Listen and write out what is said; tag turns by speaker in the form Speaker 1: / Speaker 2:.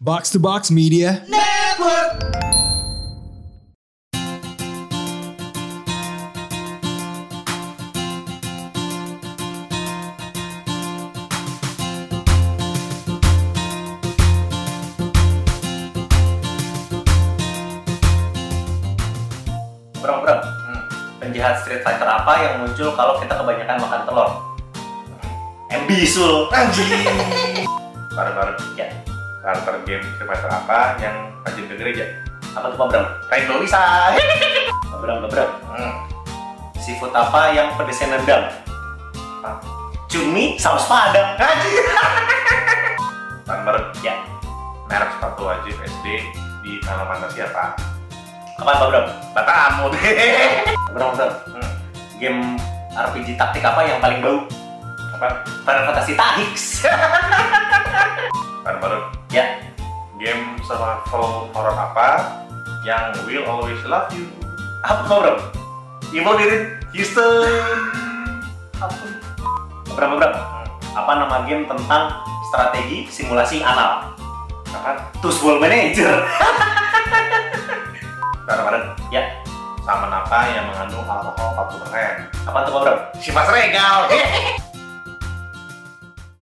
Speaker 1: Box to Box Media.
Speaker 2: Bro, bro, penjahat street fighter apa yang muncul kalau kita kebanyakan makan telur? Hmm. Embisul,
Speaker 3: baru-baru
Speaker 2: ya,
Speaker 3: karakter game Street Fighter apa yang rajin ke gereja?
Speaker 2: apa tuh Pak Bram?
Speaker 3: Kain tulisan.
Speaker 2: Pak Bram, Pak Bram,
Speaker 3: Hmm.
Speaker 2: seafood apa yang pedesnya nendang?
Speaker 3: Apa?
Speaker 2: Cumi, saus padang, anjir.
Speaker 3: Nomor
Speaker 2: Ya,
Speaker 3: merek sepatu wajib SD di nama mana siapa?
Speaker 2: apaan Pak Bram?
Speaker 3: Batamu deh.
Speaker 2: Pak Bram, Pak Bram,
Speaker 3: Hmm.
Speaker 2: game RPG taktik apa yang paling bau?
Speaker 3: Apa?
Speaker 2: Final Fantasy Tactics.
Speaker 3: Baru-baru
Speaker 2: ya,
Speaker 3: game survival horror apa yang will always love you?
Speaker 2: apa Pak Bram?
Speaker 3: Evil Within Houston.
Speaker 2: Apa? Pak Bram, Pak Bram,
Speaker 3: Hmm.
Speaker 2: apa nama game tentang strategi simulasi anal?
Speaker 3: Apa?
Speaker 2: Tools Ball Manager.
Speaker 3: Baru-baru
Speaker 2: ya,
Speaker 3: Saman apa yang mengandung alkohol 40%?
Speaker 2: apa tuh Pak Bram? Iya.
Speaker 3: Sifat regal.